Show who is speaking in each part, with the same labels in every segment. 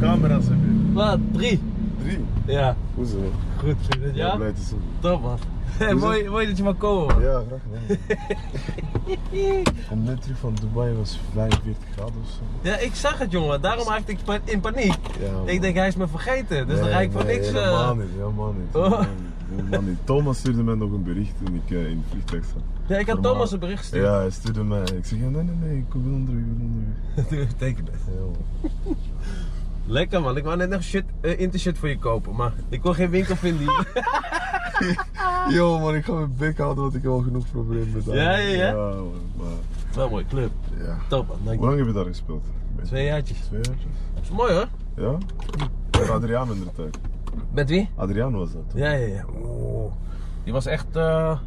Speaker 1: camera's heb je?
Speaker 2: Wat? Drie?
Speaker 1: Drie.
Speaker 2: Ja,
Speaker 1: Hoezo? Ik
Speaker 2: goed vriend. het,
Speaker 1: ben
Speaker 2: Ja?
Speaker 1: blij te zien.
Speaker 2: Top man. Hey,
Speaker 1: Hoezo?
Speaker 2: mooi, mooi dat je mag komen. man.
Speaker 1: Ja, graag gedaan. Ik kom net terug van Dubai, was 45 graden of zo.
Speaker 2: Ja, ik zag het jongen, daarom raakte ik pa- in paniek.
Speaker 1: Ja, Oh, man.
Speaker 2: Ik denk, hij is me vergeten, dus dan
Speaker 1: Nee,
Speaker 2: ga ik voor
Speaker 1: nee,
Speaker 2: niks. eh,
Speaker 1: Helemaal niet, helemaal niet.
Speaker 2: Oh.
Speaker 1: helemaal niet, helemaal niet. Thomas stuurde mij nog een bericht toen ik eh, in het vliegtuig zat.
Speaker 2: Ja, ik had
Speaker 1: Normaal.
Speaker 2: Thomas een bericht gestuurd.
Speaker 1: Ja, hij stuurde mij. Ik zeg, ja, nee, nee, nee, ik wil onderweg, ik wil onderweg.
Speaker 2: Doe even tekenen.
Speaker 1: Ja, man.
Speaker 2: Lekker man, ik wou net nog shit, eh, intershirt voor je kopen, maar ik kon geen winkel vinden. hier.
Speaker 1: Yo man, ik ga mijn bek houden, want ik heb al genoeg problemen met haar.
Speaker 2: Ja, ja, ja.
Speaker 1: man, maar,
Speaker 2: Wel mooi, club.
Speaker 1: ja.
Speaker 2: Top man, dank
Speaker 1: Hoe
Speaker 2: je.
Speaker 1: lang heb je daar gespeeld? Beetje-
Speaker 2: Twee jaartjes.
Speaker 1: Twee jaartjes?
Speaker 2: Dat is mooi hoor.
Speaker 1: Ja? Met Adriaan in de tijd.
Speaker 2: Met wie?
Speaker 1: Adriaan was dat, toch?
Speaker 2: Ja, ja, ja. Oeh. Die was echt eh,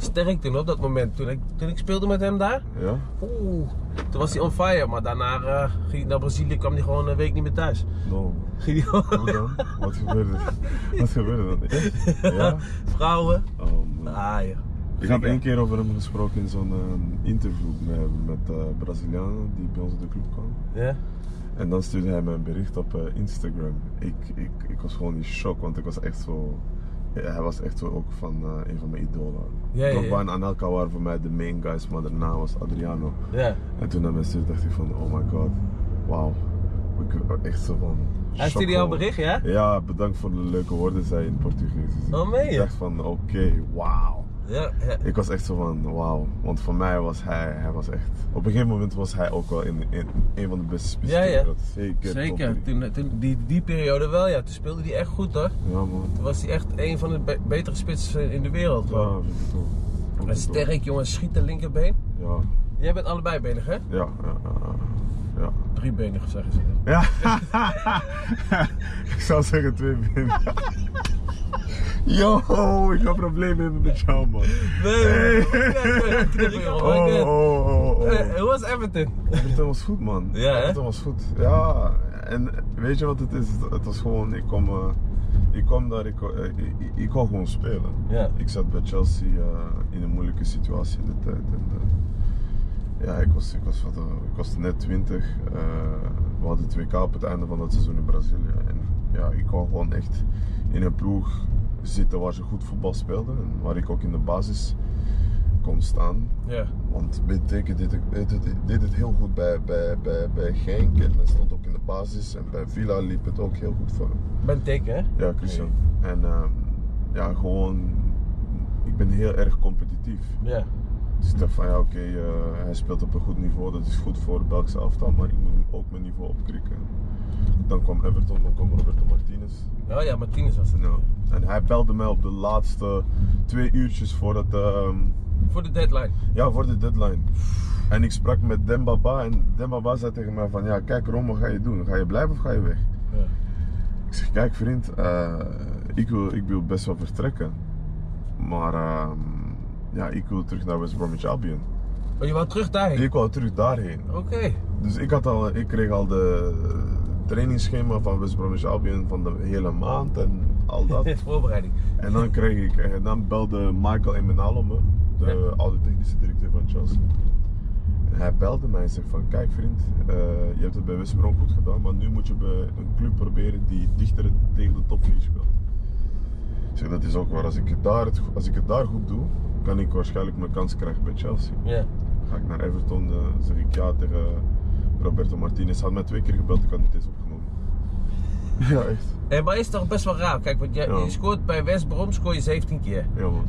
Speaker 2: sterk toen op dat moment. Toen ik, toen ik speelde met hem daar,
Speaker 1: Ja?
Speaker 2: oeh, toen was hij on fire. Maar daarna eh, ging hij naar Brazilië, kwam hij gewoon een week niet meer thuis.
Speaker 1: No.
Speaker 2: Ging hij gewoon-
Speaker 1: Hoe Nou, dan? Wat gebeurde er? Wat gebeurde er dan? Echt? Ja?
Speaker 2: Vrouwen.
Speaker 1: Oh, man.
Speaker 2: Ah ja.
Speaker 1: Ik had één keer over hem gesproken in zo'n eh, interview met, met eh, Brazilianen die bij ons in de club kwamen.
Speaker 2: Ja?
Speaker 1: En dan stuurde hij mij een bericht op eh, Instagram. Ik, ik, ik was gewoon in shock, want ik was echt zo. ja, hij was echt zo ook van eh, een van mijn idolen.
Speaker 2: Ja, ja, ja.
Speaker 1: Robban en Anelka waren voor mij de main guys, maar daarna was Adriano.
Speaker 2: Ja.
Speaker 1: En toen naar mij stuurde, dacht ik van, oh my god, wauw. Ik was echt zo van.
Speaker 2: Hij
Speaker 1: shock
Speaker 2: stuurde jou een
Speaker 1: gewoon.
Speaker 2: bericht, ja?
Speaker 1: Ja, bedankt voor de leuke woorden, zei hij in Portugees. Dus
Speaker 2: Oh, meen je?
Speaker 1: Ik dacht van, oké, wauw.
Speaker 2: Ja, ja.
Speaker 1: Ik was echt zo van, wauw. Want voor mij was hij, hij was echt... Op een gegeven moment was hij ook wel in, in een van de beste spitsen
Speaker 2: Ja,
Speaker 1: ter
Speaker 2: ja.
Speaker 1: wereld. Zeker. top
Speaker 2: Zeker,
Speaker 1: drie.
Speaker 2: toen, toen, die, die periode wel ja. Toen speelde hij echt goed hoor.
Speaker 1: Ja, man.
Speaker 2: Toen was hij echt een van de be- betere spitsen in de wereld. gewoon.
Speaker 1: Ja, vind ik ook. Vind
Speaker 2: En
Speaker 1: ik ook.
Speaker 2: sterk jongen, schiet de linkerbeen.
Speaker 1: Ja,
Speaker 2: Jij bent allebei benig hè?
Speaker 1: ja, ja. ja, ja.
Speaker 2: Driebenig zeggen ze.
Speaker 1: Ja. ik zou zeggen twee benen. Yo, ik ga problemen hebben met jou,
Speaker 2: Oh,
Speaker 1: man.
Speaker 2: Nee,
Speaker 1: Hey. Oh,
Speaker 2: nee. Eh,
Speaker 1: oh, oh, oh.
Speaker 2: Hoe was Everton?
Speaker 1: Everton was goed, man.
Speaker 2: Ja, hè?
Speaker 1: Everton was goed. Ja, en weet je wat het is? Het- Het was gewoon, ik kwam, eh, ik kwam daar, ik, eh, ik, ik- ik kon gewoon spelen.
Speaker 2: Ja.
Speaker 1: Ik zat bij Chelsea eh, in een moeilijke situatie in de tijd. En, eh, ja, ik was, ik, was wat, eh, ik was net 20. eh, we hadden 2K op het einde van dat seizoen in Brazilië. En ja, ik kon gewoon echt in een ploeg zitten waar ze goed voetbal speelden. En waar ik ook in de basis kon staan.
Speaker 2: Ja.
Speaker 1: Want Binteken deed, het- deed, het- deed het heel goed bij, bij, bij, bij Genk en hij stond ook in de basis. En bij Villa liep het ook heel goed voor hem.
Speaker 2: Ben teken hè?
Speaker 1: Ja, Christian. En ehm, ja, gewoon, ik ben heel erg competitief.
Speaker 2: Ja.
Speaker 1: Dus ik dacht van ja, oké, eh, hij speelt op een goed niveau, dat is goed voor het Belgische elftal, maar ik moet ook mijn niveau opkrikken. Dan kwam Everton, dan kwam Roberto Martinez.
Speaker 2: Oh ja, Martinez was dat.
Speaker 1: Ja. En hij belde mij op de laatste twee uurtjes voordat. ehm,
Speaker 2: Voor de deadline.
Speaker 1: ja, voor de deadline. En ik sprak met Dembaba en Dembaba zei tegen mij van ja, kijk Ron, wat ga je doen? Ga je blijven of ga je weg?
Speaker 2: Ja.
Speaker 1: Ik zeg, kijk vriend, eh, ik, wil, ik wil best wel vertrekken. Maar ehm, ja, ik wil terug naar West Bromwich Albion.
Speaker 2: Oh, je wou terug daarheen?
Speaker 1: Ik wou terug daarheen.
Speaker 2: Oké.
Speaker 1: Dus ik, had al, ik kreeg al de trainingsschema van West Bromwich Albion van de hele maand en al dat.
Speaker 2: Voorbereiding.
Speaker 1: En dan kreeg ik, en dan belde Michael Emenalo me, de
Speaker 2: Ja.
Speaker 1: oude technische directeur van Chelsea. En hij belde mij en zegt van, kijk vriend, eh, je hebt het bij West Brom goed gedaan, maar nu moet je bij een club proberen die dichter tegen de top 4 speelt. Ik zeg, dat is ook waar, als ik het daar, het go- als ik het daar goed doe, kan ik waarschijnlijk mijn kans krijgen bij Chelsea.
Speaker 2: Ja.
Speaker 1: Ga ik naar Everton, eh, zeg ik ja tegen Roberto Martinez. Hij had mij twee keer gebeld, ik had niet eens opgenomen. Ja, echt.
Speaker 2: Hey, maar is toch best wel raar. Kijk, want jij,
Speaker 1: Ja.
Speaker 2: je scoort bij West Brom scoor je 17 keer.
Speaker 1: Ja man.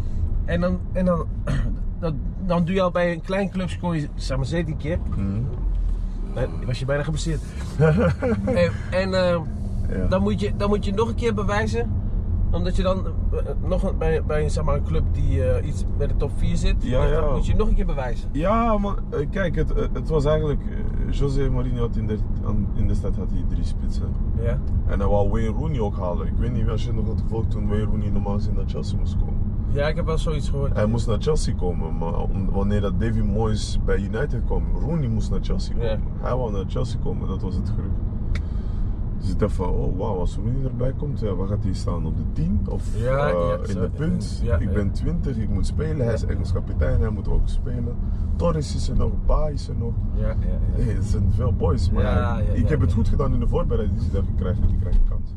Speaker 2: En dan, en dan, dat, dan doe je al bij een klein club scoor je zeg maar 17 keer.
Speaker 1: Mhm.
Speaker 2: Dan was je bijna geblesseerd. en en eh,
Speaker 1: Ja.
Speaker 2: dan, moet je, dan moet je nog een keer bewijzen. Omdat je dan eh, eh, nog een- bij, bij zeg maar, een club die eh, iets bij de top 4 zit.
Speaker 1: Ja,
Speaker 2: maar dan
Speaker 1: ja.
Speaker 2: moet je nog een keer bewijzen.
Speaker 1: Ja, maar eh, kijk, het, het was eigenlijk. eh, José Mourinho had in de, aan- in de stad had hij drie spitsen.
Speaker 2: Ja.
Speaker 1: En hij wou Wayne Rooney ook halen. Ik weet niet als je nog had gevolgd toen Wayne Rooney normaal gezien naar Chelsea moest komen.
Speaker 2: ja, ik heb wel zoiets gehoord.
Speaker 1: Hij moest naar Chelsea komen, maar om- wanneer dat Davy Moyes bij United kwam, Rooney moest naar Chelsea komen.
Speaker 2: Ja.
Speaker 1: Hij wou naar Chelsea komen, dat was het gerucht. Je zit even, oh wauw, als Roemenië erbij komt, ja, waar gaat hij staan? Op de 10 of
Speaker 2: Ja,
Speaker 1: eh,
Speaker 2: ja,
Speaker 1: in
Speaker 2: zo,
Speaker 1: de punt?
Speaker 2: ja,
Speaker 1: ik
Speaker 2: ja.
Speaker 1: ben 20, ik moet spelen. Hij is
Speaker 2: Ja.
Speaker 1: Engels kapitein, hij moet ook spelen. Torres is er nog, Pa is er nog.
Speaker 2: Ja, ja, ja.
Speaker 1: Hey, het zijn veel boys, maar
Speaker 2: Ja, ja,
Speaker 1: ik
Speaker 2: ja,
Speaker 1: heb het
Speaker 2: ja.
Speaker 1: goed gedaan in de voorbereiding. Dus ik dacht, ik krijg, ik krijg een kans.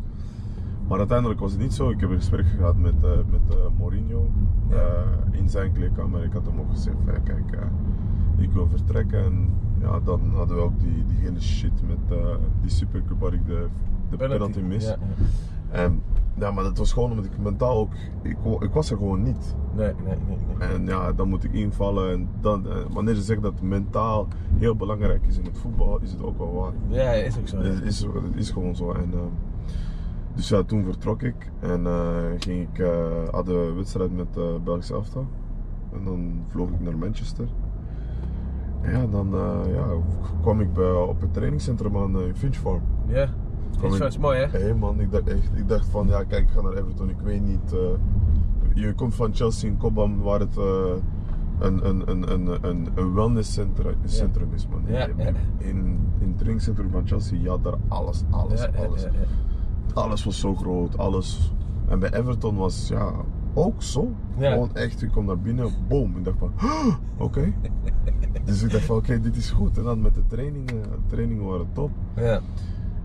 Speaker 1: Maar uiteindelijk was het niet zo. Ik heb een gesprek gehad met, eh, met eh, Mourinho
Speaker 2: Ja.
Speaker 1: eh, in zijn kleedkamer. Ik had hem ook gezegd, van, ja, kijk, eh, ik wil vertrekken. En ja, dan hadden we ook die, die hele shit met eh, die supercup waar ik de, de penalty, mis.
Speaker 2: Ja, ja.
Speaker 1: En, ja, maar dat was gewoon omdat ik mentaal ook... Ik, wa- ik was er gewoon niet.
Speaker 2: Nee, nee, nee. nee.
Speaker 1: En ja, dan moet ik invallen. En dan, eh, wanneer ze zeggen dat mentaal heel belangrijk is in het voetbal, is het ook wel waar.
Speaker 2: Ja, is ook zo. ja.
Speaker 1: Het is, het is gewoon zo. En, ehm, dus ja, toen vertrok ik en eh, ging ik, eh had een wedstrijd met eh Belgische elftal. En dan vloog ik naar Manchester. En ja, dan eh, ja, kwam ik bij, op het trainingscentrum aan eh, in Finch Farm.
Speaker 2: Ja.
Speaker 1: Kom
Speaker 2: Is
Speaker 1: in.
Speaker 2: vast mooi, hè?
Speaker 1: Hé man, ik dacht echt, ik dacht van ja, kijk, ik ga naar Everton, ik weet niet. eh, je komt van Chelsea in Cobham, waar het eh, een, een, een, een, een, een wellnesscentrum centrum is, man.
Speaker 2: Ja, ja.
Speaker 1: In, in het trainingscentrum van Chelsea, je had daar alles, alles,
Speaker 2: Ja, ja,
Speaker 1: alles.
Speaker 2: ja, ja.
Speaker 1: Alles was zo groot, alles. En bij Everton was ja, ook zo.
Speaker 2: Ja.
Speaker 1: Gewoon echt, ik kom naar binnen, boom. Ik dacht van, "Huh, oké. dus ik dacht van, oké, dit is goed. En dan met de trainingen, trainingen waren top.
Speaker 2: Ja.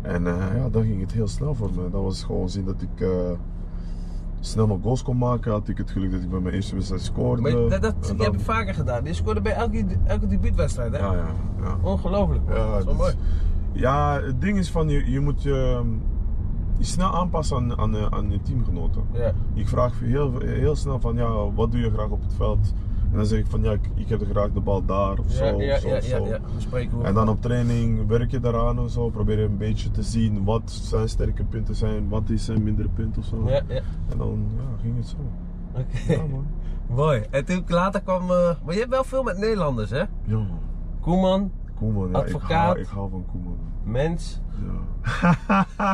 Speaker 1: En eh, ja, dan ging het heel snel voor me. Dat was gewoon zien dat ik eh, snel mijn goals kon maken. Had ik het geluk dat ik bij mijn eerste wedstrijd scoorde.
Speaker 2: Maar dat, dat
Speaker 1: En
Speaker 2: heb
Speaker 1: dan-
Speaker 2: je vaker gedaan. Je scoorde bij elke, elke debuutwedstrijd, hè?
Speaker 1: Ja, ja, ja.
Speaker 2: Ongelooflijk. man.
Speaker 1: Ja,
Speaker 2: dat is wel
Speaker 1: dit is-
Speaker 2: mooi.
Speaker 1: Ja, het ding is van, je, je moet je, je snel aanpassen aan, aan, eh, aan je teamgenoten.
Speaker 2: Ja.
Speaker 1: Ik vraag heel, heel snel van, ja, wat doe je graag op het veld? En dan zeg ik van, ja, ik, ik heb graag de bal daar of
Speaker 2: Ja,
Speaker 1: zo.
Speaker 2: ja,
Speaker 1: of zo,
Speaker 2: ja,
Speaker 1: of
Speaker 2: ja,
Speaker 1: zo.
Speaker 2: ja. We spreken hoe.
Speaker 1: En dan op training werk je daaraan en zo. Probeer je een beetje te zien wat zijn sterke punten zijn, wat is zijn mindere punten of zo.
Speaker 2: Ja, ja.
Speaker 1: En dan ja, ging het zo.
Speaker 2: Oké.
Speaker 1: Ja, man.
Speaker 2: Mooi. En toen ik later kwam. eh, Maar je hebt wel veel met Nederlanders, hè?
Speaker 1: Ja, man.
Speaker 2: Koeman,
Speaker 1: Koeman, ja, ik,
Speaker 2: Advocaat.
Speaker 1: hou, ik hou van Koeman.
Speaker 2: Mens.
Speaker 1: Ja.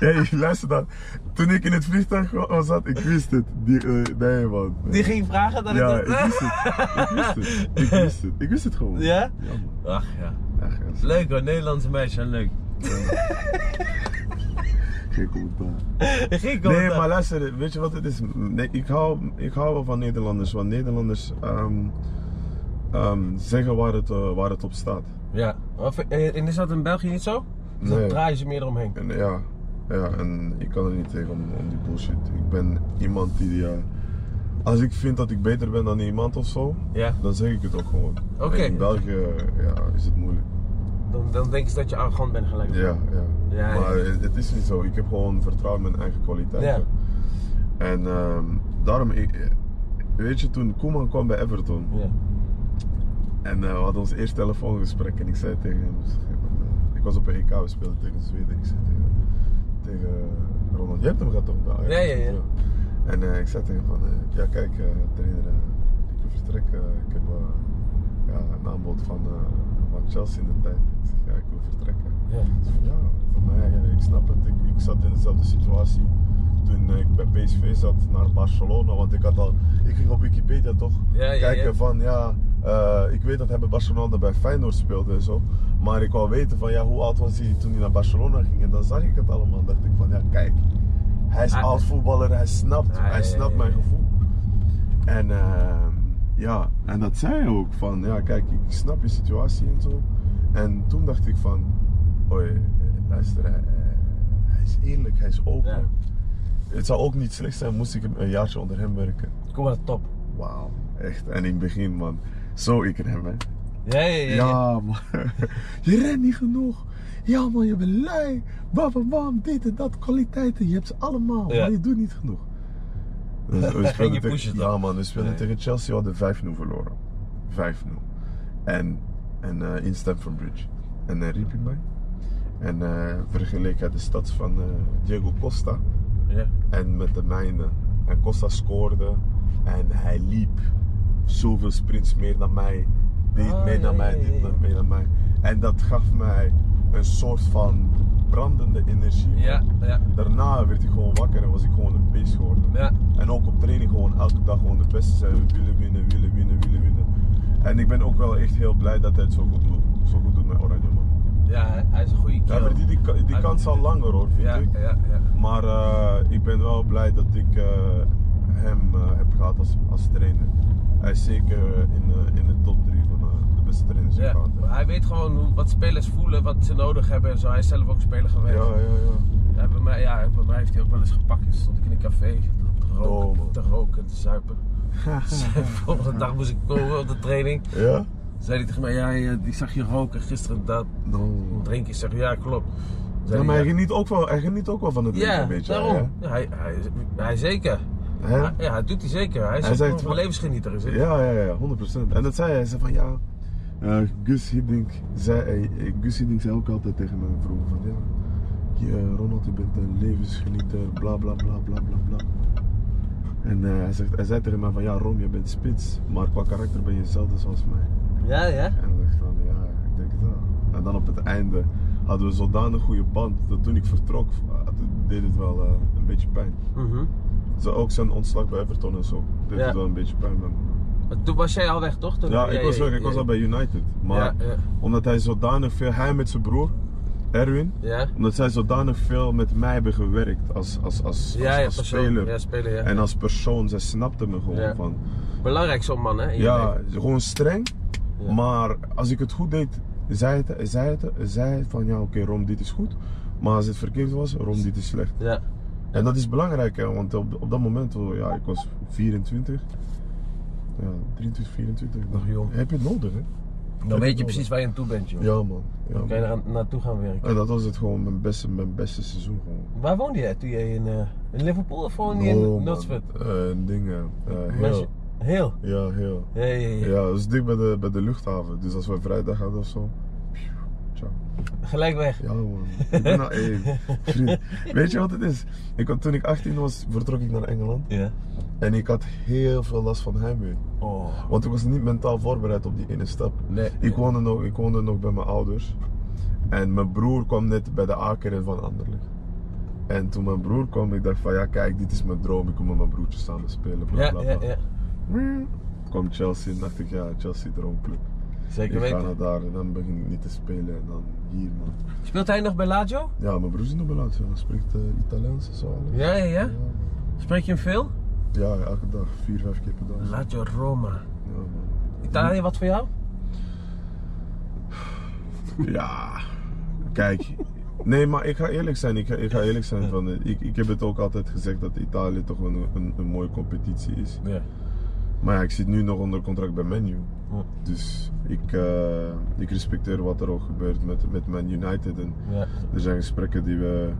Speaker 1: ja, je luistert dan. Toen ik in het vliegtuig wa- zat, ik wist het. Die, eh, nee, man.
Speaker 2: Die ging vragen dat
Speaker 1: ja,
Speaker 2: ik
Speaker 1: ik
Speaker 2: dat.
Speaker 1: wist het. Ik wist het. Ik wist het. Ik wist het gewoon.
Speaker 2: Ja?
Speaker 1: Ja, man.
Speaker 2: Ach ja.
Speaker 1: Echt, ja.
Speaker 2: Leuk hoor, Nederlandse meisjes zijn leuk.
Speaker 1: Geen commentaar.
Speaker 2: Geen
Speaker 1: Nee,
Speaker 2: commentaar.
Speaker 1: maar luister, weet je wat het is? Nee, ik, hou, ik hou wel van Nederlanders, want Nederlanders ehm, ehm, zeggen waar het, eh, waar het op staat.
Speaker 2: Ja. Of- eh, En is dat in België niet zo? Dus
Speaker 1: Nee.
Speaker 2: Dan draaien ze meer omheen.
Speaker 1: En ja, ja, en ik kan er niet tegen om, om die bullshit. Ik ben iemand die, ja, als ik vind dat ik beter ben dan iemand of zo,
Speaker 2: Ja.
Speaker 1: dan zeg ik het ook gewoon.
Speaker 2: Oké.
Speaker 1: En In België ja, is het moeilijk.
Speaker 2: Dan, dan denken ze dat je arrogant bent gelijk.
Speaker 1: Ja, ja.
Speaker 2: Ja, ja.
Speaker 1: maar het- het is niet zo. Ik heb gewoon vertrouwen in mijn eigen kwaliteiten. En ehm, daarom, ik- weet je, toen Koeman kwam bij Everton,
Speaker 2: Ja.
Speaker 1: En eh, we hadden ons eerste telefoongesprek en ik zei tegen hem, ik zeg, eh, ik was op een EK, we speelden tegen Zweden en ik zei tegen, tegen Ronald, je hebt hem gehad toch? bij Ajax?"
Speaker 2: Ja, ja, ja.
Speaker 1: En eh, ik zei tegen hem van, eh, ja kijk eh, trainer, eh, ik wil vertrekken, ik heb eh, ja, een aanbod van, eh, van Chelsea in de tijd. Ik zeg, ja ik wil vertrekken.
Speaker 2: Ja.
Speaker 1: Hij zei, ja, voor mij, eh, ik snap het, ik, ik zat in dezelfde situatie toen eh, ik bij PSV zat naar Barcelona, want ik had al, ik ging op Wikipedia toch
Speaker 2: Ja, ja,
Speaker 1: kijken
Speaker 2: ja.
Speaker 1: van ja, eh, ik weet dat hij bij Barcelona bij Feyenoord speelde en zo. Maar ik wou weten van ja, hoe oud was hij toen hij naar Barcelona ging. En dan zag ik het allemaal en dacht ik van ja, kijk, hij is
Speaker 2: Ah.
Speaker 1: oud voetballer, hij snapt,
Speaker 2: Ah, ja,
Speaker 1: hij
Speaker 2: ja,
Speaker 1: snapt
Speaker 2: ja,
Speaker 1: mijn
Speaker 2: ja.
Speaker 1: gevoel. En ehm, ja, en dat zei hij ook van ja, kijk, ik snap je situatie en zo. En toen dacht ik van, oei, eh, luister, hij, eh, hij is eerlijk, hij is open.
Speaker 2: Ja.
Speaker 1: Het zou ook niet slecht zijn moest ik hem een jaartje onder hem werken.
Speaker 2: Kom maar, top.
Speaker 1: Wauw, echt. En in het begin, man. Zo ik in hem, hè.
Speaker 2: Ja, ja, ja. ja.
Speaker 1: Ja, man. Je rent niet genoeg. Ja, man, je bent lui. Bam, bam, bam. Dit en dat. Kwaliteiten. Je hebt ze allemaal.
Speaker 2: Ja.
Speaker 1: Maar je doet niet genoeg. Dus we
Speaker 2: je
Speaker 1: speelden tegen-
Speaker 2: pushen dan.
Speaker 1: ja, man. We speelden
Speaker 2: Nee.
Speaker 1: tegen Chelsea. We hadden 5-0 verloren. 5-0. En, en eh, in Stamford Bridge. En eh, riep hij mij. En eh, vergeleek hij de stads van eh, Diego Costa
Speaker 2: ja.
Speaker 1: en met de mijne. En Costa scoorde en hij liep zoveel sprints meer dan mij. Deed
Speaker 2: Ah,
Speaker 1: meer
Speaker 2: ja,
Speaker 1: dan
Speaker 2: ja,
Speaker 1: mij,
Speaker 2: ja,
Speaker 1: dit
Speaker 2: ja.
Speaker 1: meer dan mij. En dat gaf mij een soort van brandende energie.
Speaker 2: Ja, ja.
Speaker 1: Daarna werd ik gewoon wakker en was ik gewoon een beest geworden.
Speaker 2: Ja.
Speaker 1: En ook op training gewoon elke dag gewoon de beste zijn. We willen winnen, willen winnen, willen winnen. En ik ben ook wel echt heel blij dat hij het zo goed doet, zo goed doet met Oranje man.
Speaker 2: Ja, hij- hij is een goede
Speaker 1: Hij
Speaker 2: kerel.
Speaker 1: verdient die, ka- die
Speaker 2: Hij-
Speaker 1: kans al langer hoor, vind
Speaker 2: Ja,
Speaker 1: ik.
Speaker 2: ja, ja.
Speaker 1: Maar eh, ik ben wel blij dat ik eh, hem eh, heb gehad als, als trainer. Hij is zeker eh, in, eh, in de top 3 van eh, de beste trainers in
Speaker 2: Ja,
Speaker 1: Qatar.
Speaker 2: maar hij weet gewoon hoe, wat spelers voelen, wat ze nodig hebben en zo. Hij is zelf ook speler geweest.
Speaker 1: Ja, ja, ja.
Speaker 2: Ja, bij, mij, ja, bij mij heeft hij ook wel eens gepakt. Toen stond ik in een café te roken,
Speaker 1: Oh, man.
Speaker 2: te, roken en te zuipen. Dus, eh, Volgende dag moest ik komen op de training.
Speaker 1: Ja?
Speaker 2: Zei hij tegen mij, ja, ja, die zag je roken gisteren, dat drink ik. Zeg ik, ja, klopt. Zei
Speaker 1: Ja, maar hij
Speaker 2: hij,
Speaker 1: geniet, ook wel, hij geniet ook wel van het
Speaker 2: ja,
Speaker 1: leven een beetje.
Speaker 2: daarom. Ja, hij, hij, hij zeker.
Speaker 1: hè? Hè?
Speaker 2: Ja, hij doet hij zeker. Hij is
Speaker 1: Hij
Speaker 2: ook
Speaker 1: zegt
Speaker 2: gewoon een
Speaker 1: wel-
Speaker 2: levensgenieter. Is het?
Speaker 1: Ja, ja, ja, 100%. En dat zei hij, hij zei van ja. eh, Gus Hiddink zei, eh, eh, Gus Hiddink zei ook altijd tegen mij vroeger van ja. je, eh, Ronald, je bent een levensgenieter, bla bla bla bla bla bla. En eh, hij, zegt, hij zei tegen mij van ja, Rom, je bent spits, maar qua karakter ben je hetzelfde zoals mij.
Speaker 2: ja. ja.
Speaker 1: En ik dacht van ja, ik denk het wel. En dan op het einde hadden we zodanig goede band dat toen ik vertrok, eh, deed het wel eh, een beetje pijn.
Speaker 2: Mhm.
Speaker 1: Zo, ook zijn ontslag bij Everton en zo. Deed
Speaker 2: Ja.
Speaker 1: het wel een beetje pijn. man.
Speaker 2: Maar Toen was jij al weg, toch? Toen-
Speaker 1: Ja, ik was weg. Ik was al bij United. Maar
Speaker 2: Ja, ja.
Speaker 1: omdat hij zodanig veel, hij met zijn broer, Erwin,
Speaker 2: Ja,
Speaker 1: omdat zij zodanig veel met mij hebben gewerkt als, als, als,
Speaker 2: ja,
Speaker 1: als,
Speaker 2: ja
Speaker 1: als
Speaker 2: persoon.
Speaker 1: speler.
Speaker 2: Ja, speler, ja.
Speaker 1: En als persoon, zij snapten me gewoon
Speaker 2: Ja.
Speaker 1: van.
Speaker 2: Belangrijk zo'n man, hè? in je
Speaker 1: Ja,
Speaker 2: leven.
Speaker 1: gewoon streng.
Speaker 2: Ja.
Speaker 1: Maar als ik het goed deed, zei het, zei het, zei het van ja, oké, Rom, dit is goed. Maar als het verkeerd was, Rom, dit is slecht.
Speaker 2: Ja.
Speaker 1: En dat is belangrijk, hè, want op, op dat moment, oh, ja, ik was 24. Ja, 23, 24.
Speaker 2: Nog jong.
Speaker 1: Heb je het nodig, hè?
Speaker 2: Dan weet je precies waar je aan toe bent, joh.
Speaker 1: Ja, man. Ja,
Speaker 2: Dan kan
Speaker 1: man.
Speaker 2: je er aan- naartoe gaan werken.
Speaker 1: En dat was het gewoon mijn beste, mijn beste seizoen gewoon.
Speaker 2: Waar woonde jij toen jij in, eh, in Liverpool of woonde je
Speaker 1: Oh,
Speaker 2: in
Speaker 1: man.
Speaker 2: Oxford?
Speaker 1: Eh, dingen. eh, heel.
Speaker 2: Mensen- Heel.
Speaker 1: Ja, heel.
Speaker 2: Ja, ja, ja.
Speaker 1: Ja, dat is dik bij de, bij de luchthaven. Dus als we vrijdag hadden of zo. pjoe, Ciao.
Speaker 2: Gelijk weg.
Speaker 1: Ja man, ik ben nou één. Vriend, weet je wat het is? Ik had, toen ik 18 was, vertrok ik naar Engeland.
Speaker 2: Ja.
Speaker 1: En ik had heel veel last van heimwee.
Speaker 2: Oh.
Speaker 1: Want ik was niet mentaal voorbereid op die ene stap.
Speaker 2: Nee.
Speaker 1: Ik woonde nog, ik woonde nog bij mijn ouders. En mijn broer kwam net bij de A-kern van Anderlecht. En toen mijn broer kwam, ik dacht van ja kijk, dit is mijn droom. Ik kom met mijn broertje samen spelen, bla
Speaker 2: Ja,
Speaker 1: bla
Speaker 2: ja,
Speaker 1: bla.
Speaker 2: ja.
Speaker 1: Kwam Chelsea en dacht ik ja, Chelsea droomclub.
Speaker 2: Zeker
Speaker 1: Ik ga naar
Speaker 2: weten.
Speaker 1: daar en dan begin ik niet te spelen en dan hier man.
Speaker 2: Speelt hij nog bij Lazio?
Speaker 1: Ja, mijn broer is nog belaat, hij spreekt eh, Italiaans en zo. alles.
Speaker 2: Ja, ja, ja. Spreek je hem veel?
Speaker 1: Ja, elke dag, vier, vijf keer per dag. Ja,
Speaker 2: Lazio Roma.
Speaker 1: man.
Speaker 2: Italië, wat voor jou?
Speaker 1: ja, kijk. Nee, maar ik ga eerlijk zijn. Ik ga, ik ga eerlijk zijn. Van, eh, ik, ik heb het ook altijd gezegd dat Italië toch wel een, een, een mooie competitie is.
Speaker 2: Ja.
Speaker 1: Maar ja, ik zit nu nog onder contract bij Menu. Dus ik, eh, ik respecteer wat er ook gebeurt met, met Man United. En
Speaker 2: Ja.
Speaker 1: Er zijn gesprekken die we,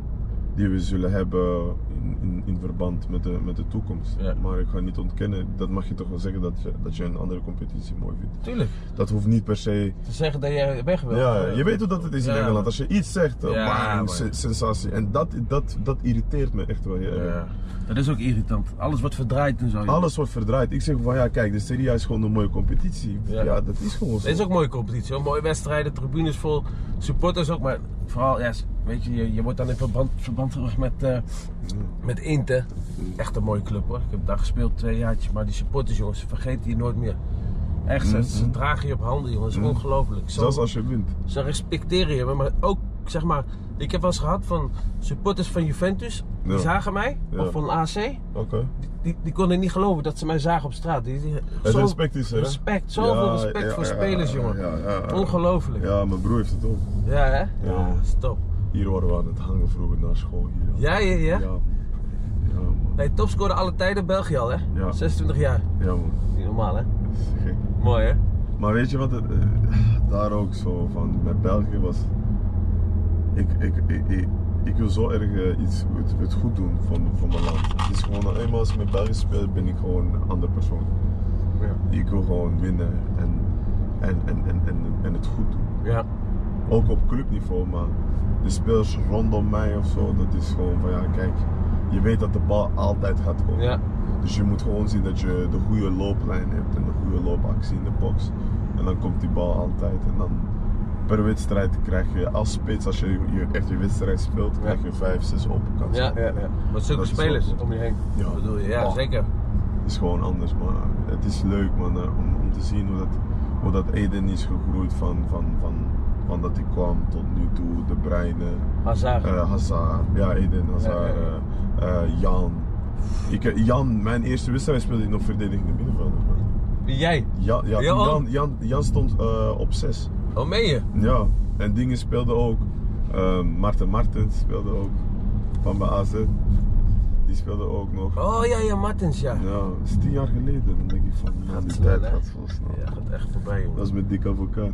Speaker 1: die we zullen hebben in, in, in verband met de, met de toekomst.
Speaker 2: Ja.
Speaker 1: Maar ik ga niet ontkennen, dat mag je toch wel zeggen dat je, dat je een andere competitie mooi vindt.
Speaker 2: Tuurlijk.
Speaker 1: Dat hoeft niet per se.
Speaker 2: Te zeggen dat jij weg wil.
Speaker 1: Ja, je weet hoe dat het is in
Speaker 2: eh, Ja.
Speaker 1: Engeland. Als je iets zegt, eh,
Speaker 2: Ja,
Speaker 1: bang,
Speaker 2: maar-
Speaker 1: se- sensatie. En dat, dat, dat irriteert me echt wel heel erg.
Speaker 2: Ja. Dat is ook irritant. Alles wordt verdraaid en zo. joh.
Speaker 1: Alles wordt verdraaid. Ik zeg van ja, kijk, de Serie A is gewoon een mooie competitie.
Speaker 2: Ja.
Speaker 1: Ja, dat is gewoon zo.
Speaker 2: Het is ook een mooie competitie, hoor. mooie wedstrijden, tribunes vol, supporters ook, maar vooral, ja, weet je, je, je wordt dan in verband, verband gebracht met, eh, met Inter. Echt een mooie club hoor, ik heb daar gespeeld twee jaartjes, maar die supporters jongens, ze vergeten je nooit meer. Echt, ze,
Speaker 1: Mhm.
Speaker 2: ze dragen je op handen jongens, ongelooflijk. Zo,
Speaker 1: Zelfs als je wint.
Speaker 2: ze respecteren je, maar ook, zeg maar, ik heb wel eens gehad van supporters van Juventus, die
Speaker 1: Ja.
Speaker 2: zagen mij,
Speaker 1: Ja.
Speaker 2: of van AC,
Speaker 1: Oké.
Speaker 2: die, die konden niet geloven dat ze mij zagen op straat. Die, die-
Speaker 1: Het
Speaker 2: zo-
Speaker 1: respect is er. hè?
Speaker 2: Respect, zoveel
Speaker 1: Ja,
Speaker 2: respect
Speaker 1: ja,
Speaker 2: voor
Speaker 1: ja,
Speaker 2: spelers,
Speaker 1: ja,
Speaker 2: jongen.
Speaker 1: ja, ja, ja.
Speaker 2: Ongelooflijk.
Speaker 1: Ja, mijn broer heeft het ook.
Speaker 2: Ja, hè?
Speaker 1: Ja.
Speaker 2: stop.
Speaker 1: Hier waren we aan het hangen vroeger naar school. Hier.
Speaker 2: Ja, ja,
Speaker 1: Ja,
Speaker 2: ja.
Speaker 1: ja man.
Speaker 2: Nee, topscorer alle tijden België al, hè?
Speaker 1: Ja.
Speaker 2: 26 jaar.
Speaker 1: Ja, man.
Speaker 2: Niet normaal, hè?
Speaker 1: Dat is gek.
Speaker 2: Mooi, hè?
Speaker 1: Maar weet je wat, het, eh, daar ook zo van, met België was. Ik, ik, ik, ik, ik wil zo erg eh, iets, het, het goed doen van, van mijn land. Het is gewoon, eenmaal als ik met België speel, ben ik gewoon een ander persoon.
Speaker 2: Ja.
Speaker 1: Ik wil gewoon winnen en, en, en, en, en, en het goed doen.
Speaker 2: Ja.
Speaker 1: Ook op clubniveau, maar de spelers rondom mij of zo, dat is gewoon van ja, kijk, je weet dat de bal altijd gaat komen.
Speaker 2: Ja.
Speaker 1: Dus je moet gewoon zien dat je de goede looplijn hebt en de goede loopactie in de box. En dan komt die bal altijd. En dan per wedstrijd krijg je als spits, als je, je echt je wedstrijd speelt, krijg je vijf, zes open kansen.
Speaker 2: Ja, ja, ja. Maar zulke
Speaker 1: Dat is
Speaker 2: spelers
Speaker 1: wel-
Speaker 2: om je heen.
Speaker 1: Ja.
Speaker 2: Bedoel je? Ja,
Speaker 1: Oh.
Speaker 2: zeker.
Speaker 1: Het is gewoon anders, maar het is leuk man, eh, om, om te zien hoe dat, hoe dat Eden is gegroeid van, van, van Van dat hij kwam tot nu toe, de Breinen,
Speaker 2: Hazard.
Speaker 1: eh Hazard, ja, Eden Hazard,
Speaker 2: Ja, ja,
Speaker 1: eh, eh, Jan. Ik, eh, Jan, mijn eerste wedstrijd speelde ik nog verdedigende middenvelder. man.
Speaker 3: Wie jij?
Speaker 1: Ja, ja,
Speaker 3: Jan?
Speaker 1: Jan, Jan, Jan stond eh, op 6.
Speaker 3: Oh, meen je?
Speaker 1: Ja, en dingen speelde ook. Eh, Marten Martens speelde ook van bij AZ. Die speelde ook nog.
Speaker 2: Oh ja, ja, Martens, ja.
Speaker 1: Ja, dat is tien jaar geleden. Dan denk ik van, man, die
Speaker 2: snel,
Speaker 1: tijd
Speaker 2: hè?
Speaker 1: gaat zo snel.
Speaker 2: Ja, gaat echt voorbij, jongen.
Speaker 1: Dat is met dik advocaat.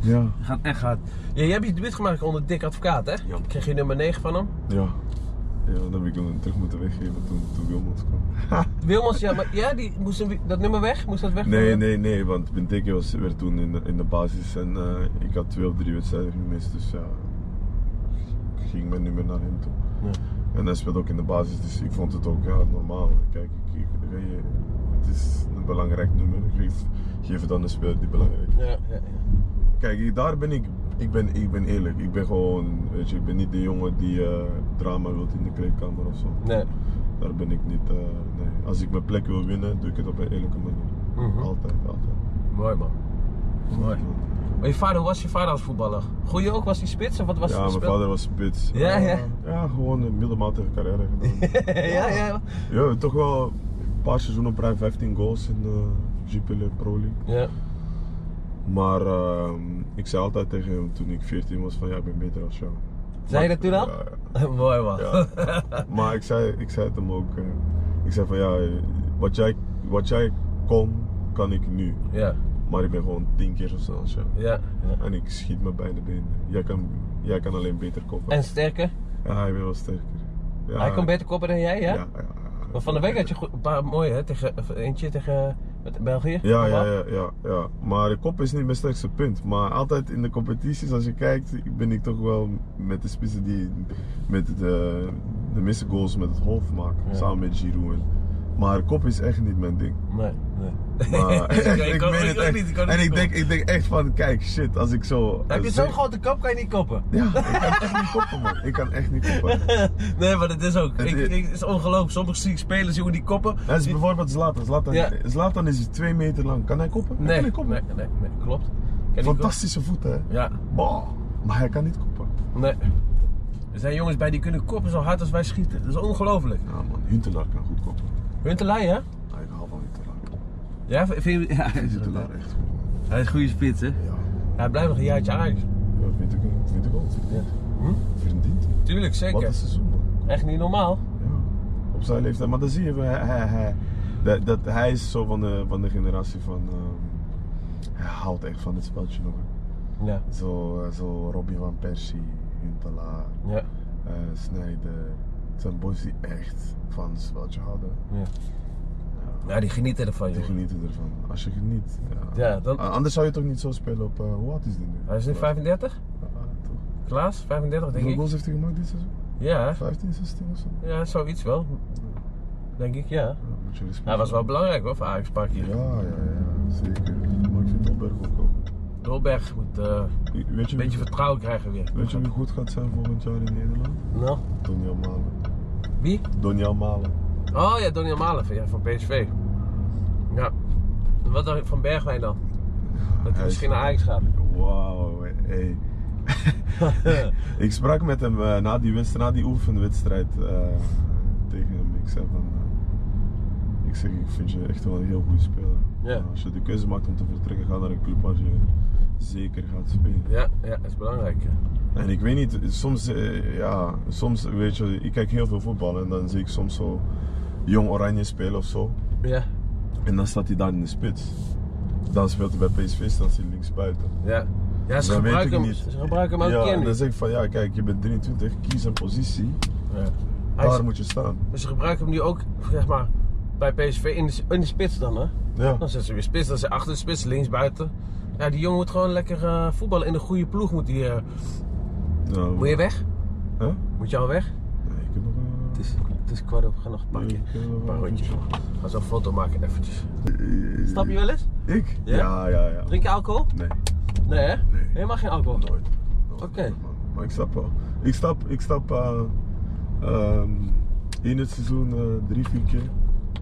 Speaker 1: ja.
Speaker 2: gaat echt hard. Ja, jij hebt je debuut gemaakt onder Dick Advocaat, hè?
Speaker 3: Ja.
Speaker 2: Kreeg je nummer 9 van hem?
Speaker 1: Ja. Ja, dat heb ik hem terug moeten weggeven toen, toen Wilmot kwam.
Speaker 2: Wilmans, ja, maar ja, die moest hem- dat nummer weg? Moest dat weg?
Speaker 1: Nee, nee, nee, want Benteke was weer toen in de, in de basis en eh, ik had twee of drie wedstrijden gemist, dus ja, ik ging mijn nummer naar hem toe.
Speaker 2: Ja.
Speaker 1: En hij speelt ook in de basis, dus ik vond het ook ja, normaal. Kijk, ik, ik, weet je, het is een belangrijk nummer, Ik geef, geef het aan een speler die belangrijk is.
Speaker 2: Ja, ja, ja.
Speaker 1: Kijk, ik- daar ben ik, ik ben, ik ben eerlijk, ik ben gewoon, weet je, ik ben niet de jongen die eh, drama wilt in de kleedkamer of zo.
Speaker 2: Nee.
Speaker 1: Daar ben ik niet, eh, nee. Als ik mijn plek wil winnen, doe ik het op een eerlijke manier.
Speaker 2: Mhm.
Speaker 1: Altijd, altijd.
Speaker 2: Mooi, man. Mooi. Maar je vader, hoe was je vader als voetballer? Goeie ook? Was hij spits of wat was
Speaker 1: ja,
Speaker 2: het
Speaker 1: mijn
Speaker 2: spel?
Speaker 1: vader was spits.
Speaker 2: Ja, ja.
Speaker 1: Ja, gewoon een middelmatige carrière gedaan.
Speaker 2: ja, ja.
Speaker 1: ja, toch wel een paar seizoenen op rij, 15 goals in de GPL Pro League.
Speaker 2: Ja.
Speaker 1: Maar ehm, ik zei altijd tegen hem toen ik 14 was van ja, ik ben beter als jou.
Speaker 2: Zei je dat toen al?
Speaker 1: Ja, ja.
Speaker 2: Mooi, man.
Speaker 1: Ja. maar ik zei, ik zei het hem ook. eh, ik zei van ja, eh, wat jij, wat jij kon, kan ik nu.
Speaker 2: Ja,
Speaker 1: Maar ik ben gewoon 10 keer zo snel als jou.
Speaker 2: ja. ja.
Speaker 1: En ik schiet me bij de benen. Jij kan, jij kan alleen beter koppen.
Speaker 2: En sterker?
Speaker 1: Ja, hij wil wel sterker. Ja,
Speaker 2: hij kon beter koppen dan jij, ja?
Speaker 1: Ja, ja,
Speaker 2: Maar van de week had je goed, een paar mooie, hè? Tegen, of eentje tegen met België.
Speaker 1: Ja, ja, ja, ja, ja. Maar de kop is niet mijn sterkste punt. Maar altijd in de competities, als je kijkt, ben ik toch wel met de spitsen die met de, de meeste goals met het hoofd maken.
Speaker 2: Ja.
Speaker 1: Samen met Giroud. en- Maar kop is echt niet mijn ding.
Speaker 2: Nee, nee.
Speaker 1: Maar, echt,
Speaker 2: Ik
Speaker 1: ik
Speaker 2: kan-
Speaker 1: meen
Speaker 2: ik
Speaker 1: het
Speaker 2: ook
Speaker 1: echt.
Speaker 2: niet, ik kan
Speaker 1: en
Speaker 2: niet
Speaker 1: ik denk, ik denk echt van, kijk, shit, als ik zo...
Speaker 2: Heb je
Speaker 1: als
Speaker 2: zo'n
Speaker 1: ik-
Speaker 2: grote kop, kan je niet koppen.
Speaker 1: Ja, ik kan echt niet koppen, man. Ik kan echt niet koppen.
Speaker 2: nee, maar dat is ook.
Speaker 1: Het
Speaker 2: Ik,
Speaker 1: is-
Speaker 2: ik- het is ongelooflijk. Sommige zie ik spelers, jongen, die koppen.
Speaker 1: Dat is bijvoorbeeld Zlatan. Zlatan,
Speaker 2: Ja.
Speaker 1: Zlatan is twee meter lang. Kan hij koppen? Hij
Speaker 2: Nee,
Speaker 1: kan niet koppen.
Speaker 2: nee, nee, nee, klopt. Kan niet
Speaker 1: Fantastische voeten, hè?
Speaker 2: koppen. Ja,
Speaker 1: Bah, Oh, maar hij kan niet koppen.
Speaker 2: nee. Er zijn jongens bij die kunnen koppen zo hard als wij schieten. Dat is ongelooflijk.
Speaker 1: Ja man, Huntelaar kan goed koppen.
Speaker 2: Huntelij, hè?
Speaker 1: Ja, ik hou van Huntelaar.
Speaker 2: Ja, vind je... Ja,
Speaker 1: Huntelaar echt goed man.
Speaker 3: Hij is een goede spits, hè?
Speaker 1: Ja,
Speaker 2: Hij blijft nog een jaartje Ajax.
Speaker 1: ja vind, ik, vind ik ook. Verdient.
Speaker 2: Hm?
Speaker 1: Verdient.
Speaker 2: Tuurlijk,
Speaker 1: Wat
Speaker 2: zeker.
Speaker 1: een seizoen man.
Speaker 2: Echt niet normaal.
Speaker 1: Ja. Op zijn leeftijd. Maar dan zie je, wel, hij, hij, hij, dat, dat, hij is zo van de, van de generatie van... ehm, hij houdt echt van het speltje nog. hè.
Speaker 2: Ja,
Speaker 1: Zo, eh, zo Robbie van Persie, Huntelaar,
Speaker 2: ja,
Speaker 1: eh Snijder. Het zijn boys die echt van het speltje houden.
Speaker 2: ja.
Speaker 1: Ja.
Speaker 2: Ja, die genieten ervan,
Speaker 1: Die
Speaker 2: jongen.
Speaker 1: genieten ervan. Als je geniet. Ja.
Speaker 2: Ja, dan...
Speaker 1: A- Anders zou je toch niet zo spelen op... eh, hoe oud is die nu?
Speaker 2: Hij is nu 35?
Speaker 1: Ja, toch.
Speaker 2: Klaas? 35, denk
Speaker 1: Hoeveel
Speaker 2: ik.
Speaker 1: goals heeft hij gemaakt dit seizoen?
Speaker 2: Ja,
Speaker 1: 15, 16 of zo?
Speaker 2: ja, zoiets wel. Denk ik, ja.
Speaker 1: Ja, moet je respect
Speaker 2: Hij was wel
Speaker 1: hebben.
Speaker 2: belangrijk, hoor, voor Ajax Parkje.
Speaker 1: Ja, ja, ja, zeker. Maar ik vind Dolberg ook wel. goed.
Speaker 2: Dolberg moet eh,
Speaker 1: Ik- Weet je,
Speaker 2: een beetje
Speaker 1: wie,
Speaker 2: vertrouwen krijgen weer.
Speaker 1: weet je wie goed gaat zijn volgend jaar in Nederland?
Speaker 2: Nou,
Speaker 1: Donjan Malen.
Speaker 2: wie?
Speaker 1: Donjan Malen.
Speaker 2: Oh ja, Donny Malen van- ja, van PSV. Ja. En Wat dacht je van Bergwijn dan? Dat hij
Speaker 1: Hij is-
Speaker 2: misschien naar Ajax gaat.
Speaker 1: Wauw, hey. Ik sprak met hem eh, na die, wedst- na die oefenwedstrijd eh, tegen hem. Ik zei van... eh, ik zeg, ik vind je echt wel een heel goede speler.
Speaker 2: Ja.
Speaker 1: Als je de keuze maakt om te vertrekken, ga naar een club waar je zeker gaat spelen.
Speaker 2: ja, ja, dat is belangrijk. ja.
Speaker 1: En ik weet niet, soms, eh, ja, soms weet je, ik kijk heel veel voetbal en dan zie ik soms zo jong Oranje spelen of zo.
Speaker 2: Ja,
Speaker 1: En dan staat hij daar in de spits. Dan speelt hij bij PSV, staat hij links buiten.
Speaker 2: ja. Ja, ze,
Speaker 1: dan
Speaker 2: gebruiken hem, ze gebruiken hem ook
Speaker 1: ja,
Speaker 2: keer
Speaker 1: en dan
Speaker 2: niet.
Speaker 1: zeg ik van ja, kijk, je bent 23, kies een positie,
Speaker 2: Ja. Hij
Speaker 1: daar
Speaker 2: is-
Speaker 1: moet je staan.
Speaker 2: maar ze gebruiken hem nu ook, zeg maar, bij PSV in de, in de spits dan, hè?
Speaker 1: Ja,
Speaker 2: Dan zitten ze weer spits, dan zijn ze achter de spits, links buiten. Ja, die jongen moet gewoon lekker eh, voetballen in een goede ploeg. Moet, die, eh,
Speaker 1: ja
Speaker 2: moet je weg?
Speaker 1: Hè?
Speaker 2: Moet je al weg?
Speaker 1: Nee, Nou, eh, ik heb nog een...
Speaker 2: Het is, het is kwart over, ga nog een pakje.
Speaker 1: ik heb nog
Speaker 2: Een paar rondjes.
Speaker 1: eentje.
Speaker 2: Ga zo'n foto maken eventjes. Stap je wel eens?
Speaker 1: Ik?
Speaker 2: Ja?
Speaker 1: Ja, ja, ja.
Speaker 2: Drink je alcohol?
Speaker 1: Nee,
Speaker 2: Nee hè?
Speaker 1: Nee.
Speaker 2: Helemaal geen alcohol?
Speaker 1: nooit. Nooit,
Speaker 2: Oké.
Speaker 1: nooit, man. Maar ik stap wel. Ik stap, ik stap eh, ehm, in het seizoen eh, drie, vier keer.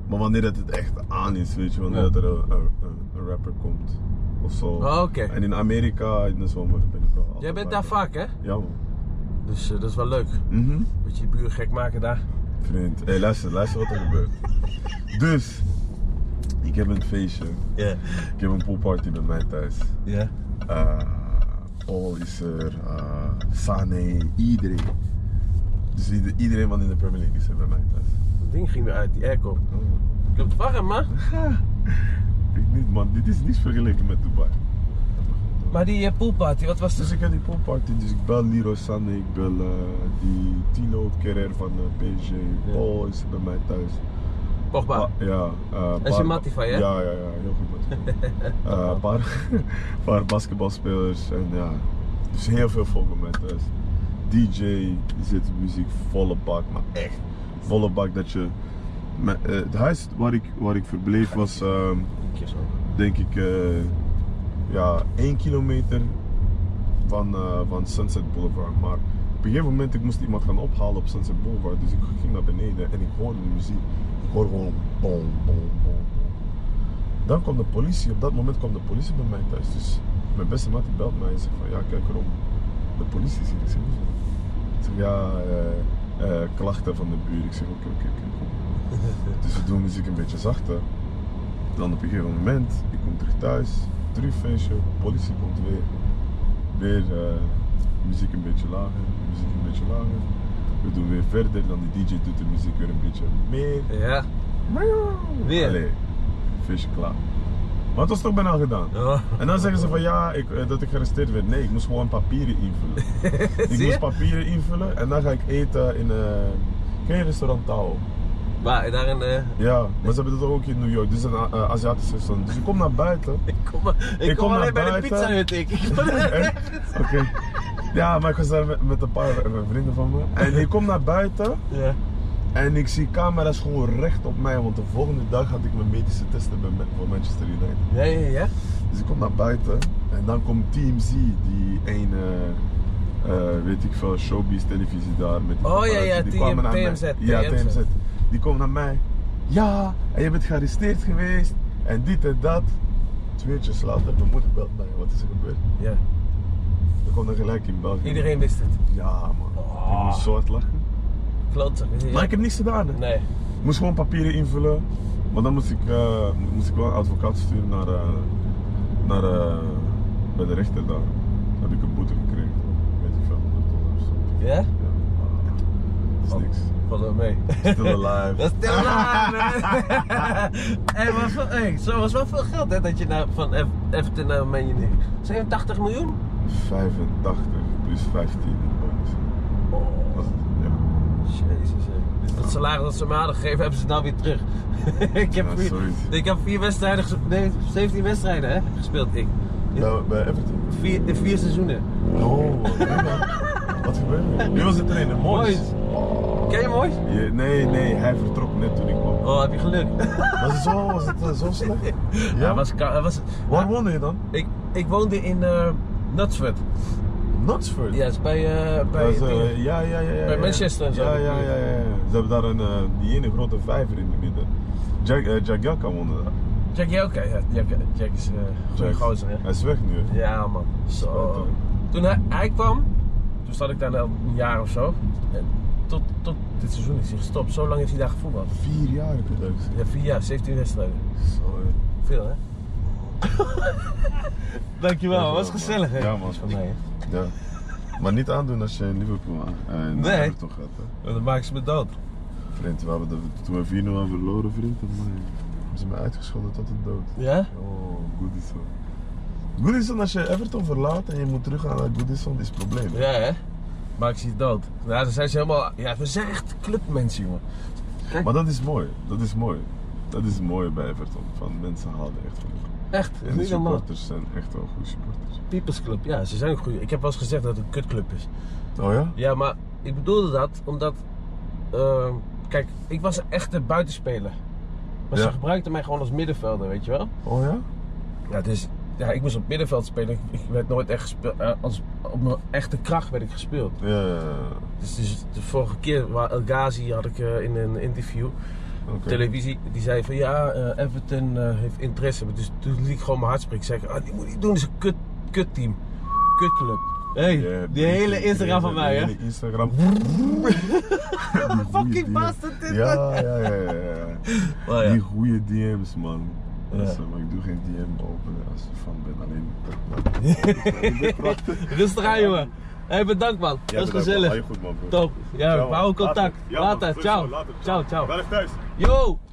Speaker 1: Maar wanneer dat het echt aan is, weet je, wanneer
Speaker 2: Ja.
Speaker 1: dat er een, een- een- een rapper komt of zo.
Speaker 2: Oh, oké.
Speaker 1: En in Amerika in de zomer ben ik wel. altijd
Speaker 2: Jij bent
Speaker 1: bij
Speaker 2: daar
Speaker 1: de-
Speaker 2: vaak, hè?
Speaker 1: Ja, man.
Speaker 2: Dus eh, dat is wel leuk.
Speaker 1: Mhm.
Speaker 2: Beetje je buren gek maken daar.
Speaker 1: Vriend, hey, luister, luister wat er gebeurt. Dus, ik heb een feestje.
Speaker 2: Ja.
Speaker 1: Ik heb een poolparty bij mij thuis.
Speaker 2: Ja.
Speaker 1: Eh Paul is er, eh, Sané, iedereen. Dus ieder- iedereen van in de Premier League is er bij mij thuis. Oh,
Speaker 2: Dat ding ging weer uit, die airco. Ik heb het warm, man.
Speaker 1: Ik niet, man, dit is niets vergeleken met Dubai.
Speaker 2: Maar die eh, poolparty, wat was
Speaker 1: Dus
Speaker 2: dus?
Speaker 1: ik heb die poolparty, dus ik bel Leroy Sané, ik bel eh, die Tino Kerrer van eh, PSG, Paul is er bij mij thuis.
Speaker 2: Pogba.
Speaker 1: Pa- ja. eh,
Speaker 2: Dat is
Speaker 1: paar-
Speaker 2: een Mattify, hè?
Speaker 1: Ja, ja, ja. Heel goed Mattify. Eh, Een paar, paar basketbalspelers en ja. Dus heel veel volk bij mij thuis. DJ zit muziek volle bak, maar echt volle bak dat je... me- eh, het huis waar ik, waar ik verbleef was... ehm,
Speaker 2: Een keer zo.
Speaker 1: denk ik, eh, ja, 1 kilometer van, eh, van Sunset Boulevard. Maar op een gegeven moment ik moest iemand gaan ophalen op Sunset Boulevard. Dus ik ging naar beneden en ik hoorde de muziek. Ik hoorde gewoon bom, bom, bom, bom. Dan kwam de politie, op dat moment kwam de politie bij mij thuis. Dus mijn beste maat die belt mij en zegt van ja, kijk erom. De politie is hier. Ik zeg, "Hoezo?" Ik zeg, ja, eh, eh, klachten van de buurt. Ik zeg, oké, oké, oké. Dus we doen muziek een beetje zachter. Dan op een gegeven moment, ik kom terug thuis, terug feestje, politie komt weer. Weer eh, muziek een beetje lager, muziek een beetje lager. We doen weer verder, dan die DJ doet de muziek weer een beetje meer.
Speaker 2: Ja. Weer?
Speaker 1: Allee, feestje klaar. Maar het was toch bijna gedaan.
Speaker 2: Oh.
Speaker 1: En dan zeggen ze van ja, ik, eh, dat ik gearresteerd werd. Nee, ik moest gewoon papieren invullen. ik
Speaker 2: Zie je?
Speaker 1: moest papieren invullen en dan ga ik eten in een ken je restaurant Tao?
Speaker 2: Maar daar in... eh,
Speaker 1: Ja, maar ze hebben dat ook in New York. Dit is een eh, Aziatisch restaurant. Dus ik kom naar buiten.
Speaker 2: ik kom, maar- ik
Speaker 1: Ik
Speaker 2: kom
Speaker 1: kom
Speaker 2: alleen
Speaker 1: naar
Speaker 2: bij de
Speaker 1: buiten.
Speaker 2: pizza hut, ik. Ik ben ergens.
Speaker 1: Oké. Ja, maar ik was daar met, met een paar eh, vrienden van me. En ik kom naar buiten
Speaker 2: Ja.
Speaker 1: en ik zie camera's gewoon recht op mij. Want de volgende dag had ik mijn medische testen bij, Man- voor Manchester United.
Speaker 2: Ja, ja, ja.
Speaker 1: Dus ik kom naar buiten en dan komt Team Z, die ene, eh, weet ik veel, showbiz televisie daar. Met die
Speaker 2: Oh, ja, ja,
Speaker 1: paparazzi, die
Speaker 2: TM
Speaker 1: kwamen naar mij.
Speaker 2: TMZ.
Speaker 1: Ja, TMZ. Die komen naar mij. Ja, en je bent gearresteerd geweest en dit en dat. Twee uurtjes later, mijn moeder belt mij, wat is er gebeurd?
Speaker 2: Ja.
Speaker 1: Ik kom dan gelijk in België.
Speaker 2: Iedereen wist het.
Speaker 1: Ja, man.
Speaker 2: Oh.
Speaker 1: Ik moest zo hard lachen.
Speaker 2: Klopt.
Speaker 1: Maar ik heb niks gedaan. hè.
Speaker 2: Nee.
Speaker 1: Ik moest gewoon papieren invullen. Maar dan moest ik, eh, moest ik wel een advocaat sturen naar, eh, naar eh, bij de rechter daar. Dan heb ik een boete gekregen. Weet ik veel, 100 dollar of zo.
Speaker 2: Ja?
Speaker 1: Ja, maar het is niks.
Speaker 2: Valt wel mee.
Speaker 1: Still alive.
Speaker 2: Dat is te laat, man. Hé, maar veel- hé, zo was wel veel geld, hè? Dat je nou van F- Everton naar Man United. 87 miljoen?
Speaker 1: 85 plus 15 bonus.
Speaker 2: Oh,
Speaker 1: Dat is het, ja.
Speaker 2: jezus, hè. Dus dat salaris dat ze me hadden gegeven, hebben ze het nou weer terug. ik, heb
Speaker 1: Ja,
Speaker 2: vier,
Speaker 1: zoiets.
Speaker 2: ik heb vier wedstrijden, ges- nee, 17 wedstrijden, hè? Gespeeld, ik.
Speaker 1: Ja, bij Everton.
Speaker 2: Vier, in vier seizoenen.
Speaker 1: Oh, wat Wat gebeurde er? Nu was het trainer, Moyes.
Speaker 2: Ken je mooi?
Speaker 1: Je- Nee, nee, hij vertrok net toen ik kwam.
Speaker 2: Oh, heb je geluk.
Speaker 1: Was het zo, was het eh, zo slecht?
Speaker 2: Ja, was, ka- was,
Speaker 1: Waar woonde je dan?
Speaker 2: ik, ik woonde in eh Nutsford.
Speaker 1: Knutsford?
Speaker 2: Ja, dat is bij, eh bij
Speaker 1: Dat is, eh, ja, ja, ja, ja.
Speaker 2: bij
Speaker 1: ja.
Speaker 2: Manchester en zo.
Speaker 1: Ja, ja, ja, ja. ja. Ze hebben daar een, eh, die ene grote vijver in het midden. Jack, eh, Jack Jack woonde daar.
Speaker 2: Jack Jelke, ja, Jack, Jack is eh goede
Speaker 1: Jack.
Speaker 2: gozer, hè?
Speaker 1: Hij is weg nu, hè?
Speaker 2: Ja, man. Zo.
Speaker 1: Spijtig.
Speaker 2: Toen hij, hij kwam, toen zat ik daar al een jaar of zo. En tot, tot dit seizoen is hij gestopt. Zo lang heeft hij daar gevoetbald.
Speaker 1: Vier jaar heb je dat gezien.
Speaker 2: Ja, vier jaar, 17 wedstrijden.
Speaker 1: Zo, hè.
Speaker 2: Veel, hè? Dankjewel,
Speaker 1: was gezellig, hè? Ja, man.
Speaker 2: Van mij, hè?
Speaker 1: Ja. Maar niet aandoen als je in Liverpool eh, en
Speaker 2: Nee.
Speaker 1: Everton gaat, hè.
Speaker 2: Dan maken ze me dood.
Speaker 1: Vriend, we hebben de, toen we 4-0 hebben verloren, vriend, dan eh, hebben ze me uitgescholden tot de dood.
Speaker 2: Ja?
Speaker 1: Oh, Goodison. Goodison, als je Everton verlaat en je moet teruggaan naar Goodison, is het probleem.
Speaker 2: Ja, hè? Maak ze je dood. Ja, dan zijn ze helemaal... Ja, we zijn echt clubmensen, jongen.
Speaker 1: Maar dat is mooi, dat is mooi. Dat is mooi bij Everton, van mensen houden echt van Everton.
Speaker 2: Echt, dat is
Speaker 1: En de
Speaker 2: niet normaal.
Speaker 1: supporters zijn echt wel goede supporters.
Speaker 2: People's Club, ja, ze zijn ook goed. Ik heb wel eens gezegd dat het een kutclub is.
Speaker 1: Oh ja?
Speaker 2: Ja, maar ik bedoelde dat omdat. eh, kijk, ik was een echte buitenspeler. Maar ze
Speaker 1: Ja.
Speaker 2: gebruikten mij gewoon als middenvelder, weet je wel?
Speaker 1: Oh ja?
Speaker 2: Ja, dus, ja ik moest op middenveld spelen. Ik, ik werd nooit echt gespeeld. eh, als, op mijn echte kracht werd ik gespeeld.
Speaker 1: Ja, ja, ja.
Speaker 2: Dus, dus de vorige keer, waar El Ghazi had ik eh, in een interview.
Speaker 1: Oké.
Speaker 2: televisie. Die zei van ja, eh, Everton eh, heeft interesse. Dus toen liet ik gewoon mijn hart spreken. Zeg, ah, die moet niet doen, dat is een kut, kut team. Kutclub. Hey,
Speaker 1: Ja,
Speaker 2: die hele Instagram van mij,
Speaker 1: die
Speaker 2: hè?
Speaker 1: hele Instagram.
Speaker 2: Fucking bastard dit,
Speaker 1: Ja, ja, ja, ja, ja.
Speaker 2: Oh, ja.
Speaker 1: Die goede DM's, man.
Speaker 2: Ja.
Speaker 1: Dat is, eh, maar ik doe geen DM openen als ik fan ben. Alleen.
Speaker 2: Rustig aan, jongen. hey, bedankt man.
Speaker 1: Ja,
Speaker 2: dat is gezellig.
Speaker 1: goed, man, bro.
Speaker 2: Top. Ja,
Speaker 1: Ciao,
Speaker 2: we
Speaker 1: man.
Speaker 2: houden contact.
Speaker 3: Ja, man.
Speaker 2: Later,
Speaker 3: Goed zo,
Speaker 2: ciao.
Speaker 3: later.
Speaker 2: Ciao, ciao.
Speaker 3: Blijf thuis.
Speaker 2: Yo!